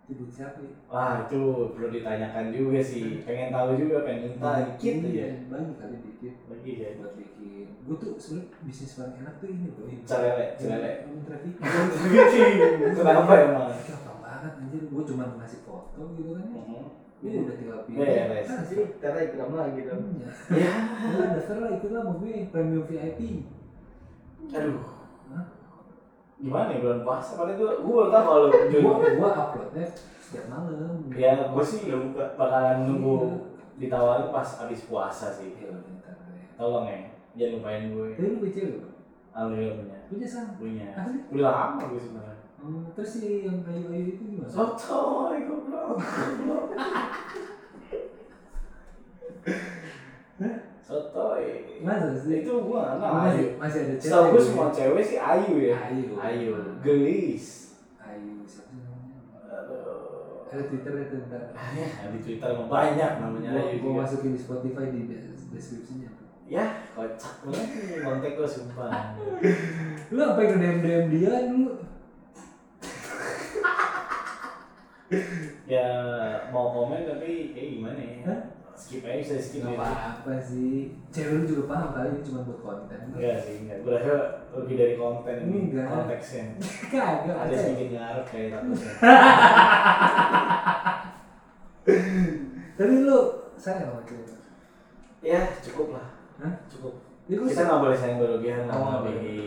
Speaker 1: Itu duit siapa ya?
Speaker 2: Wah itu perlu ditanyakan juga sih. Pengen tahu juga, pengen minta Nah, dikit ya.
Speaker 1: Iya,
Speaker 2: aja.
Speaker 1: Banyak kali dikit
Speaker 2: Lagi ya.
Speaker 1: buat bikin. Gue tuh sebenarnya bisnis paling enak tuh ini Iya, bro.
Speaker 2: Celele, celele.
Speaker 1: Ini traffic.
Speaker 2: Kenapa emang?
Speaker 1: Iya. Gampang banget anjir. Gue cuma ngasih foto gitu kan ya.
Speaker 2: Mhm.
Speaker 1: Ini udah tinggal pilih.
Speaker 2: Iya, guys.
Speaker 1: Ah, sih.
Speaker 3: Jadi Tera ikram lagi dong.
Speaker 1: Iya.
Speaker 2: Ya.
Speaker 1: Lu daftar lah ikut lah sama gue premium VIP.
Speaker 2: Aduh.
Speaker 1: Hah?
Speaker 2: Gimana ya bulan puasa? Padahal gue gue belum tahu kalau Jun.
Speaker 1: Gua gua uploadnya setiap malam.
Speaker 2: kan Ya gue sih bakalan nunggu
Speaker 1: Iya.
Speaker 2: ditawarin pas abis puasa sih.
Speaker 1: Iya, udah ntar deh.
Speaker 2: Tolong ya, jangan lupain gue.
Speaker 1: Tapi lu punya cewek Bang?
Speaker 2: Alhamdulillah punya.
Speaker 1: Punya sama.
Speaker 2: Punya.
Speaker 1: Asli.
Speaker 2: Udah lama gue sebenarnya.
Speaker 1: Hmm, terus si yang ayu-ayu itu gimana?
Speaker 2: Oh, Sotoy goblok. goblok. Sotoy.
Speaker 1: Masa sih?
Speaker 2: Itu gue nggak tahu.
Speaker 1: Oh, masih, masih ada cewek.
Speaker 2: Setahu gue
Speaker 1: ya?
Speaker 2: semua cewek sih ayu ya.
Speaker 1: Ayu.
Speaker 2: Ayu, gelis.
Speaker 1: Ayu, siapa sih namanya?
Speaker 2: Aduh.
Speaker 1: Ada Twitter itu ntar.
Speaker 2: Ya, di Twitter emang banyak namanya
Speaker 1: Gua-
Speaker 2: Ayu
Speaker 1: Gua
Speaker 2: juga.
Speaker 1: masukin di Spotify di de- deskripsinya.
Speaker 2: Ya, kocak banget nih kontak gue sumpah.
Speaker 1: Lu apa yang nge-DM DM dia dulu?
Speaker 2: ya mau komen tapi kayak gimana ya?
Speaker 1: Hah?
Speaker 2: Skip aja bisa skip
Speaker 1: Gak
Speaker 2: ya.
Speaker 1: apa-apa sih. Cewek lu juga paham kali ini cuma buat konten.
Speaker 2: Enggak sih, enggak. Gue rasa lebih dari konten ini
Speaker 1: Enggak.
Speaker 2: konteksnya.
Speaker 1: Kagak
Speaker 2: Ada sedikit ngarep kayak takutnya.
Speaker 1: Tapi lu sayang sama cewek.
Speaker 2: ya cukup lah.
Speaker 1: Hah?
Speaker 2: Cukup.
Speaker 1: Ya, gua
Speaker 2: Kita
Speaker 1: sayang.
Speaker 2: nggak boleh sayang berlebihan
Speaker 1: Oh,
Speaker 2: lah
Speaker 1: iya.
Speaker 2: bagi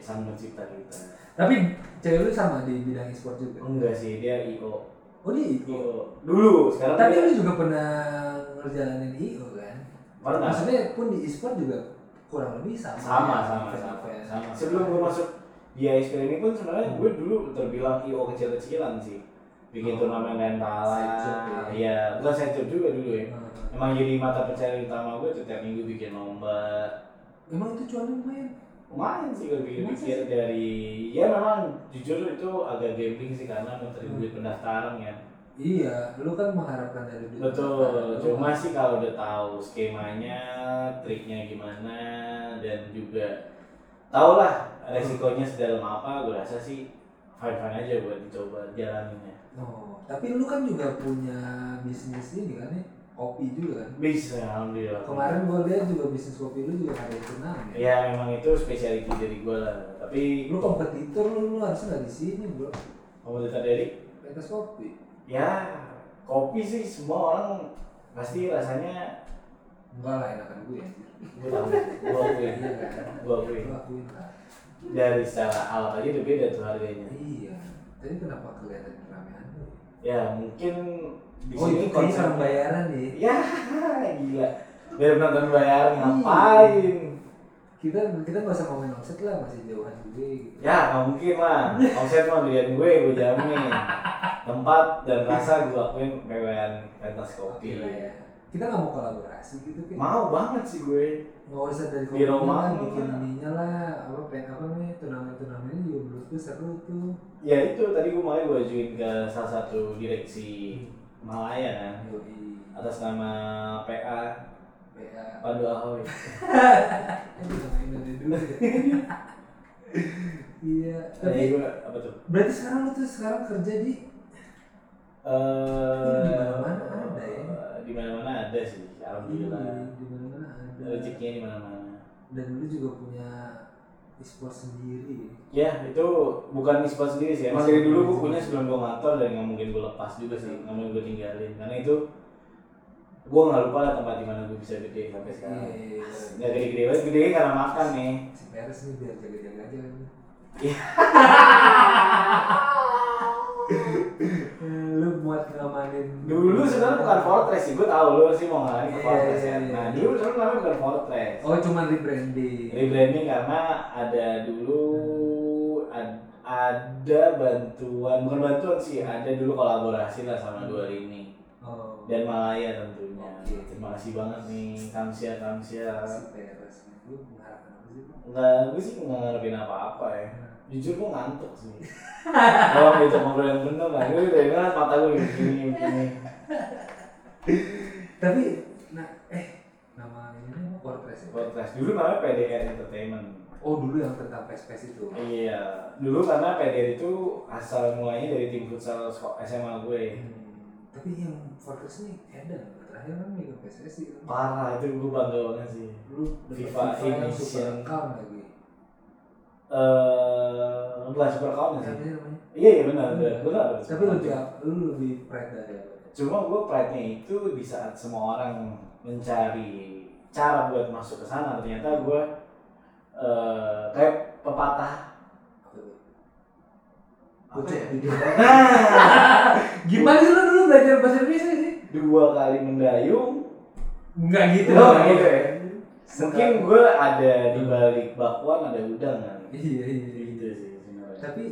Speaker 2: sang pencipta kita.
Speaker 1: Tapi cewek lu sama di bidang e-sport juga.
Speaker 2: Enggak sih, dia IO.
Speaker 1: Oh di IO.
Speaker 2: IO. Dulu, sekarang
Speaker 1: Tapi
Speaker 2: dia
Speaker 1: lu juga pernah ngejalanin IO kan?
Speaker 2: pernah
Speaker 1: Maksudnya pun di e-sport juga kurang lebih sama.
Speaker 2: sama
Speaker 1: ya,
Speaker 2: Iya, sama sama,
Speaker 1: event-event.
Speaker 2: sama. sebelum gue masuk di ISP ini pun sebenarnya gue dulu terbilang IO kecil-kecilan sih
Speaker 1: Oh.
Speaker 2: bikin
Speaker 1: Side
Speaker 2: turnamen
Speaker 1: job
Speaker 2: rentalan
Speaker 1: ya.
Speaker 2: iya bukan saya juga dulu ya
Speaker 1: Hmm.
Speaker 2: emang jadi mata pencarian utama gue tuh tiap minggu bikin lomba
Speaker 1: Emang itu cuannya lumayan.
Speaker 2: lumayan sih gue pikir-pikir
Speaker 1: Masa
Speaker 2: dari ya memang jujur itu agak gambling sih karena menteri
Speaker 1: Hmm.
Speaker 2: duit pendaftaran ya
Speaker 1: Iya, lu kan mengharapkan dari Oh, duit.
Speaker 2: Betul,
Speaker 1: Lu
Speaker 2: cuma sih kalau udah tahu skemanya, triknya gimana, dan juga tau lah resikonya sedalam apa, gue rasa sih fine-fine aja buat dicoba jalaninnya.
Speaker 1: Oh, tapi lu kan juga punya bisnis ini kan ya, kopi juga kan.
Speaker 2: Bisa, alhamdulillah.
Speaker 1: Kemarin gua lihat juga bisnis kopi lu juga ada yang kenal ya.
Speaker 2: Ya memang itu specialty dari gue lah, tapi
Speaker 1: Lu kompetitor lu, lu harusnya nggak di sini bro.
Speaker 2: komunitas dari
Speaker 1: Pentas kopi.
Speaker 2: ya kopi sih semua orang pasti rasanya
Speaker 1: Enggak lah enakan gue ya.
Speaker 2: gue tahu, gue akuin,
Speaker 1: Iya kan.
Speaker 2: gue akuin.
Speaker 1: Lu akuin lah.
Speaker 2: Dari secara alat aja udah beda tuh harganya.
Speaker 1: Iya. Tapi kenapa kelihatan keramaian? lu?
Speaker 2: Ya mungkin di
Speaker 1: Oh itu
Speaker 2: sini
Speaker 1: kayaknya
Speaker 2: konsep
Speaker 1: orang bayaran ya.
Speaker 2: Ya, gila. Biar penonton
Speaker 1: Iya.
Speaker 2: bayar ngapain?
Speaker 1: Kita kita nggak usah komen omset lah masih jauhan juga gitu.
Speaker 2: Ya, nggak mungkin lah. Omset mah pilihan gue, gue jamin. Tempat dan rasa gue akuin PWN pentas
Speaker 1: Oke
Speaker 2: kopi.
Speaker 1: lah ya. Kita nggak mau kolaborasi gitu kan.
Speaker 2: Mau banget sih gue.
Speaker 1: nggak usah dari
Speaker 2: Di rumah
Speaker 1: lah, bikin
Speaker 2: mah.
Speaker 1: ininya lah apa pen apa nih turnamen turnamennya juga menurut gue seru tuh
Speaker 2: Ya itu tadi gue malah gue ajuin ke salah satu direksi Malaya kan
Speaker 1: yoi
Speaker 2: atas nama PA
Speaker 1: PA
Speaker 2: Pandu Ahoy.
Speaker 1: aduh namain dari dulu ya. iya
Speaker 2: Jadi
Speaker 1: tapi
Speaker 2: gue apa tuh?
Speaker 1: berarti sekarang lu tuh sekarang kerja di
Speaker 2: Eh,
Speaker 1: Di mana-mana ada ya?
Speaker 2: Di mana-mana ada sih, alhamdulillah.
Speaker 1: di mana mana ada
Speaker 2: Rezekinya di mana-mana.
Speaker 1: dan lu juga punya e-sport sendiri
Speaker 2: Ya, itu bukan ispa sendiri sih. Emang dari dulu gue punya sebelum gue ngantor dan nggak mungkin gue lepas juga sih, nggak mungkin gue tinggalin. Karena itu gue nggak lupa lah tempat di mana gue bisa gede sampai sekarang.
Speaker 1: Iya.
Speaker 2: Nggak gede-gede banget, gede karena makan nih.
Speaker 1: si Peres nih biar jaga-jaga aja kan
Speaker 2: Iya.
Speaker 1: Eh, lu buat ngamanin
Speaker 2: Dulu sebenarnya bukan Fortress sih, gue tahu lo sih mau ngalahin ke
Speaker 1: Iya,
Speaker 2: Fortress
Speaker 1: iya,
Speaker 2: ya.
Speaker 1: iya.
Speaker 2: Nah dulu sebenarnya namanya bukan Fortress.
Speaker 1: oh cuma rebranding
Speaker 2: Rebranding karena ada dulu ad- ada bantuan bukan bantuan sih ada dulu kolaborasi lah sama dua ini
Speaker 1: Oh.
Speaker 2: dan Malaya tentunya. Ya,
Speaker 1: Oke.
Speaker 2: Terima kasih banget nih Tamsia Tamsia.
Speaker 1: si Peres nih, lu mengharapkan apa sih? Nah, Bang?
Speaker 2: Enggak, gue sih nggak ngarepin apa-apa ya. Jujur gue ngantuk sih. Kalau gitu ngobrol yang bener lah, gue udah bilang mata gue begini begini.
Speaker 1: Tapi, nah, eh, nama ini apa Corpress ya?
Speaker 2: Podcast dulu namanya PDR Entertainment.
Speaker 1: Oh dulu yang tentang pes-pes itu.
Speaker 2: Iya, dulu karena PDR itu asal mulanya dari tim futsal sko- SMA gue.
Speaker 1: Hmm, tapi yang Fortress ini Eden terakhir kan megang PSSI kan.
Speaker 2: Parah itu gue bangga banget sih.
Speaker 1: Lu dapet
Speaker 2: FIFA
Speaker 1: yang super
Speaker 2: Edition.
Speaker 1: account lagi.
Speaker 2: Iya. Eh, uh, super
Speaker 1: Apa
Speaker 2: kawan
Speaker 1: sih
Speaker 2: sih.
Speaker 1: namanya?
Speaker 2: Iya iya benar, benar, benar.
Speaker 1: Hmm. Tapi lu lebih lu lebih pride dari apa?
Speaker 2: Cuma gue pride-nya itu di saat semua orang mencari cara buat masuk ke sana, ternyata gue eh kayak pepatah.
Speaker 1: Apa tuh?
Speaker 2: Apa
Speaker 1: Gua
Speaker 2: ya?
Speaker 1: cek video.
Speaker 2: Nah,
Speaker 1: Gimana sih lu dulu belajar bahasa Indonesia sih?
Speaker 2: dua kali mendayung.
Speaker 1: Enggak gitu.
Speaker 2: Oh,
Speaker 1: Bang.
Speaker 2: gitu ya? Mungkin
Speaker 1: Sekarang-
Speaker 2: gue ada di balik bakwan ada udang kan.
Speaker 1: Iya iya iya.
Speaker 2: Gitu sih sebenarnya.
Speaker 1: Tapi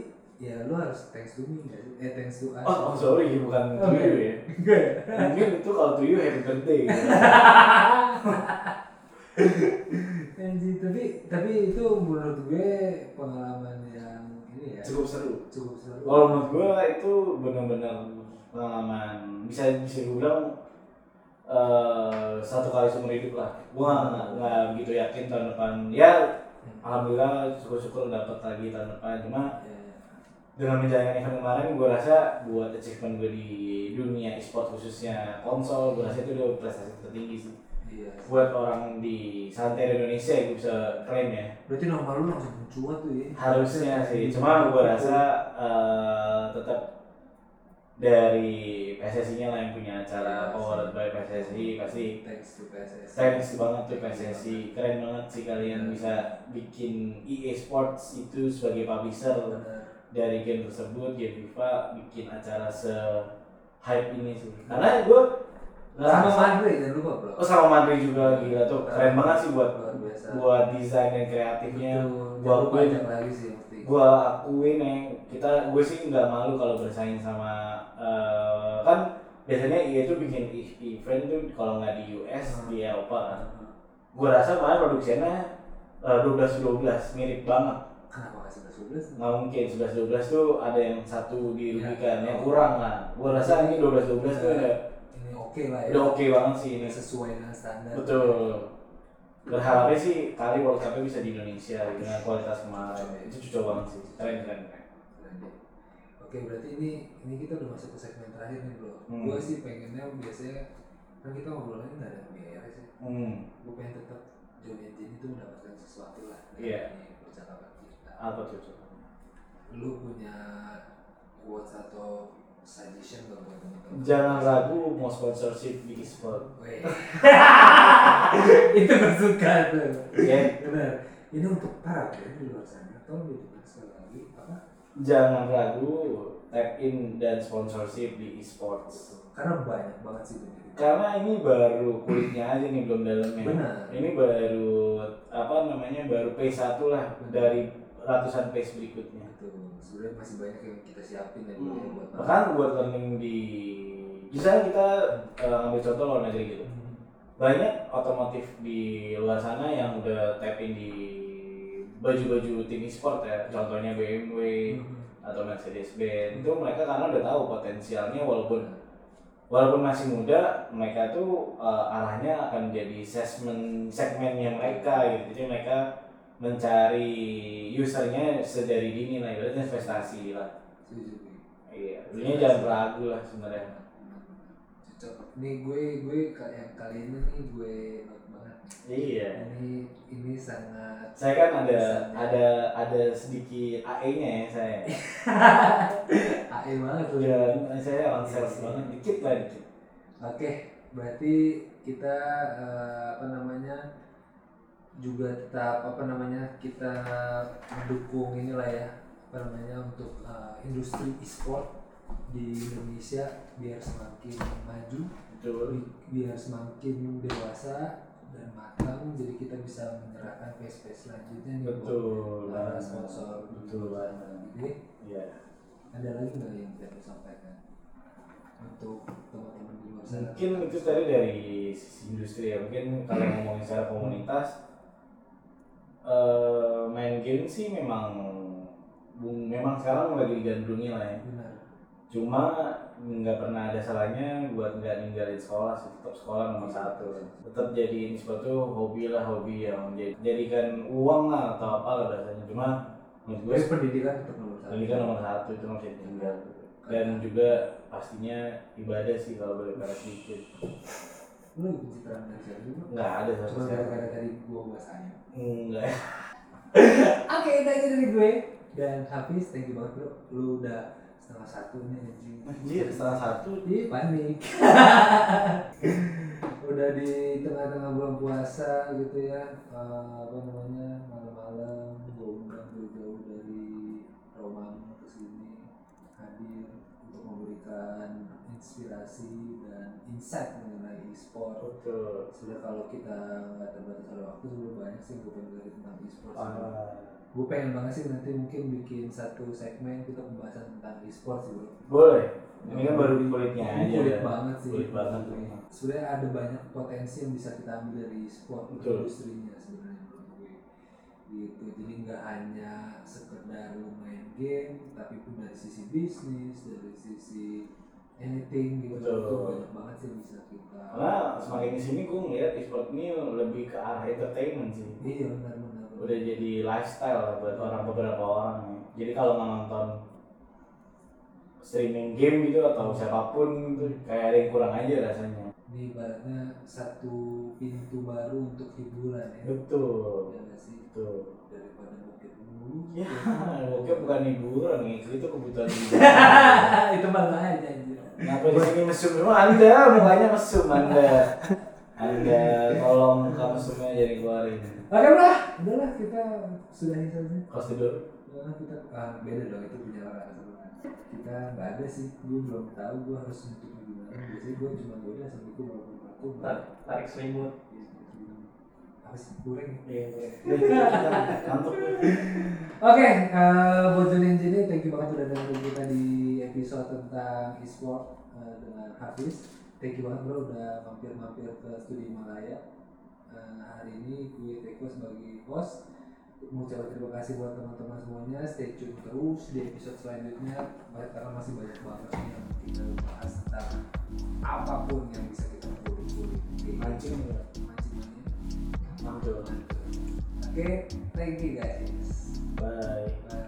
Speaker 1: ya lu harus thanks to me nggak sih? Eh thanks to us.
Speaker 2: Oh, oh, sorry bukan
Speaker 1: Oh,
Speaker 2: tuyul ya.
Speaker 1: Enggak.
Speaker 2: Mungkin itu kalau tuyul happy birthday. gitu.
Speaker 1: Anjir, tapi tapi itu menurut gue pengalaman yang ini ya
Speaker 2: Cukup seru.
Speaker 1: cukup seru.
Speaker 2: Kalau menurut gue itu benar-benar pengalaman bisa bisa gue bilang eh, satu kali seumur hidup lah. Gue nggak nggak- nggak begitu yakin tahun depan. Ya
Speaker 1: Hmm.
Speaker 2: alhamdulillah syukur-syukur dapat lagi tahun depan. Cuma
Speaker 1: Ya, ya.
Speaker 2: dengan menjalankan event kemarin, gue rasa buat achievement gue di dunia e-sport khususnya konsol, gue rasa itu udah prestasi tertinggi sih.
Speaker 1: Iya.
Speaker 2: Buat orang di santai Indonesia, gue bisa klaim ya.
Speaker 1: Berarti nama lu langsung mencuat tuh ya?
Speaker 2: harusnya sih cuma gue rasa eh, tetap dari PSSI nya lah yang punya
Speaker 1: Iya,
Speaker 2: acara powered by PSSI pasti
Speaker 1: Thanks to PSSI.
Speaker 2: thanks banget tuh PSSI keren banget sih kalian bisa bikin EA Sports itu sebagai publisher
Speaker 1: Benar.
Speaker 2: dari game tersebut game FIFA bikin acara se hype ini sih karena gue
Speaker 1: Sama Madre jangan lupa bro.
Speaker 2: oh, sama Madri juga gila tuh keren banget sih buat
Speaker 1: Luar biasa.
Speaker 2: buat desain dan kreatifnya
Speaker 1: gua
Speaker 2: buat gue
Speaker 1: panjang lagi sih mesti.
Speaker 2: gua akuin ya kita gue sih nggak malu kalau bersaing sama eh, kan biasanya EA tuh bikin e- event tuh kalau nggak di US
Speaker 1: Hmm.
Speaker 2: di Eropa kan gue rasa malah produksinya eh, belas 12 12 mirip banget
Speaker 1: Kenapa nggak sebelas sebelas?
Speaker 2: nggak mungkin 11 12 tuh ada yang satu dirugikan
Speaker 1: Ya.
Speaker 2: yang kurang lah gue rasa ini 12 12 tuh udah
Speaker 1: Ini oke lah ya.
Speaker 2: udah oke banget sih ini
Speaker 1: Sesuai dengan standar.
Speaker 2: betul berharapnya sih kali World Cup-nya bisa di Indonesia dengan kualitas kemarin itu cocok banget sih keren keren keren.
Speaker 1: Oke berarti ini ini kita udah masuk ke segmen terakhir nih bro.
Speaker 2: Hmm.
Speaker 1: Gua sih pengennya biasanya kan kita ngobrolnya nggak ada beres ya.
Speaker 2: hmm.
Speaker 1: Gua pengen tetap John and Jenny itu mendapatkan sesuatu lah dari
Speaker 2: Iya.
Speaker 1: percakapan kita.
Speaker 2: apa tuh Cok?
Speaker 1: Lu punya quotes atau suggestion nggak buat teman-teman?
Speaker 2: jangan ragu mau sponsorship di e-sport
Speaker 1: Weh. Oh, iya. itu bersuka tuh.
Speaker 2: ya
Speaker 1: Benar. Ini untuk para brand di luar sana. Tolong dihidupkan sekali lagi apa?
Speaker 2: jangan ragu tap in dan sponsorship di e-sports
Speaker 1: Karena banyak banget sih dunia kita.
Speaker 2: karena ini baru kulitnya aja nih belum dalamnya
Speaker 1: Benar.
Speaker 2: ini baru apa namanya baru phase satu lah dari ratusan phase berikutnya
Speaker 1: Betul. Sebenarnya masih banyak yang kita siapin dan
Speaker 2: Hmm.
Speaker 1: buat
Speaker 2: bahkan buat learning di misalnya kita eh, ambil contoh luar negeri gitu
Speaker 1: Hmm.
Speaker 2: banyak otomotif di luar sana yang udah tap in di baju-baju tim e-sport ya contohnya BMW
Speaker 1: Hmm.
Speaker 2: atau Mercedes Benz itu mereka karena udah tahu potensialnya walaupun walaupun masih muda mereka tuh eh, arahnya akan jadi segmen segmennya mereka gitu jadi mereka mencari usernya sedari dini lah ibaratnya investasi lah
Speaker 1: Setuju, gue.
Speaker 2: iya ini jangan ragu lah sebenarnya
Speaker 1: Cocok. Nih gue gue ka- yang kali ini nih gue not banget.
Speaker 2: iya
Speaker 1: Ini ini sangat
Speaker 2: saya kan ada ada ada sedikit AE nya ya saya
Speaker 1: AE banget lu.
Speaker 2: Udah, saya on sales banget dikit lah dikit
Speaker 1: Oke, berarti kita eh, apa namanya juga tetap apa namanya kita mendukung inilah ya apa namanya untuk eh, industri e-sport di Indonesia biar semakin maju,
Speaker 2: betul
Speaker 1: bi- biar semakin dewasa dan matang, jadi kita bisa menyerahkan phase-phase selanjutnya nih buat eh,
Speaker 2: betul
Speaker 1: para sponsor
Speaker 2: betul banget
Speaker 1: Jadi,
Speaker 2: iya
Speaker 1: ada lagi nggak yang bisa disampaikan? untuk teman-teman di luar sana?
Speaker 2: mungkin itu tadi dari sisi industri ya mungkin kalau ngomongin secara komunitas eh, main game sih memang memang sekarang lagi digandrungi lah ya
Speaker 1: Benar.
Speaker 2: cuma nggak pernah ada salahnya buat nggak ninggalin sekolah sih tetap sekolah nomor satu tetap jadiin sesuatu hobi lah hobi yang jadi jadikan uang lah atau apa lah bahasanya cuma menurut gue
Speaker 1: Terus pendidikan tetap nomor satu.
Speaker 2: pendidikan nomor satu itu masih tinggal dan juga pastinya ibadah sih kalau boleh karena sedikit
Speaker 1: Lu lagi pencitraan belajar juga.
Speaker 2: nggak ada sama
Speaker 1: Cuma
Speaker 2: sekali
Speaker 1: gara-gara dari gua bahasanya.
Speaker 2: nggak
Speaker 1: Oke, itu aja dari gue. Dan Hafiz, thank you banget bro. Lu udah setengah satu nih anjing.
Speaker 2: anjir setengah satu
Speaker 1: Ih, panik. udah di tengah-tengah bulan puasa gitu ya. eh, apa namanya? Malam-malam gue undang jauh-jauh dari Romangun ke sini hadir untuk memberikan inspirasi dan insight mengenai e-sport
Speaker 2: betul
Speaker 1: sudah kalau kita nggak terbatas oleh waktu sudah banyak sih gue pengen dari tentang e-sport
Speaker 2: Ah,
Speaker 1: gue pengen banget sih nanti mungkin bikin satu segmen kita pembahasan tentang e-sport sih bro
Speaker 2: boleh ini kan baru kulitnya
Speaker 1: Ini
Speaker 2: aja
Speaker 1: kulit banget sih Iya.
Speaker 2: Kulit banget.
Speaker 1: sebenarnya ada banyak potensi yang bisa kita ambil dari e-sport
Speaker 2: Betul.
Speaker 1: industrinya sebenarnya menurut gue. gitu jadi nggak hanya sekedar lu main game tapi pun dari sisi bisnis dari sisi anything gitu
Speaker 2: Betul.
Speaker 1: itu banyak banget sih yang bisa kita
Speaker 2: Karena semakin kesini gue ngeliat e-sport ini lebih ke arah entertainment sih.
Speaker 1: iya benar-benar
Speaker 2: Udah jadi lifestyle lah buat orang beberapa orang. ya. Jadi kalau nggak nonton streaming game gitu atau siapapun gitu, kayak ada yang kurang aja rasanya.
Speaker 1: ini ibaratnya satu pintu baru untuk hiburan ya
Speaker 2: Betul.
Speaker 1: ya nggak sih
Speaker 2: Betul.
Speaker 1: daripada bokep dulu
Speaker 2: Ya, oke bukan hiburan nih, itu kebutuhan hidup.
Speaker 1: itu malah aja anjir
Speaker 2: Kenapa di sini mesum? Memang anda mukanya mesum anda. Anda tolong muka mesumnya jadi keluarin.
Speaker 1: oke bro udahlah kita sudahi saja
Speaker 2: Kos tidur.
Speaker 1: Nah, kita ah, beda dong itu punya orang sebenarnya. kita nggak ada sih gue belum tahu gue harus nutup gimana biasanya gue cuma gue udah sampai gue mau aku
Speaker 3: Tarik, tarik selimut.
Speaker 1: apa sih goreng
Speaker 2: Iya. Kantuk.
Speaker 1: Oke, eh Bojo Ninjini, thank you banget udah dengerin kita di episode tentang e-sport eh, dengan Hafiz. Thank you banget bro udah mampir-mampir ke Studio Malaya. Eh, hari ini gue Teko sebagai host. Mengucapkan terima kasih buat teman-teman semuanya. Stay tune terus di episode selanjutnya karena masih banyak banget yang kita bahas tentang apapun yang bisa kita kulik-kulik. Oke,
Speaker 2: Mancing.
Speaker 1: ya, Mancing-mancing.
Speaker 2: Mantul.
Speaker 1: Oke, thank you guys.
Speaker 2: Bye.
Speaker 1: Bye.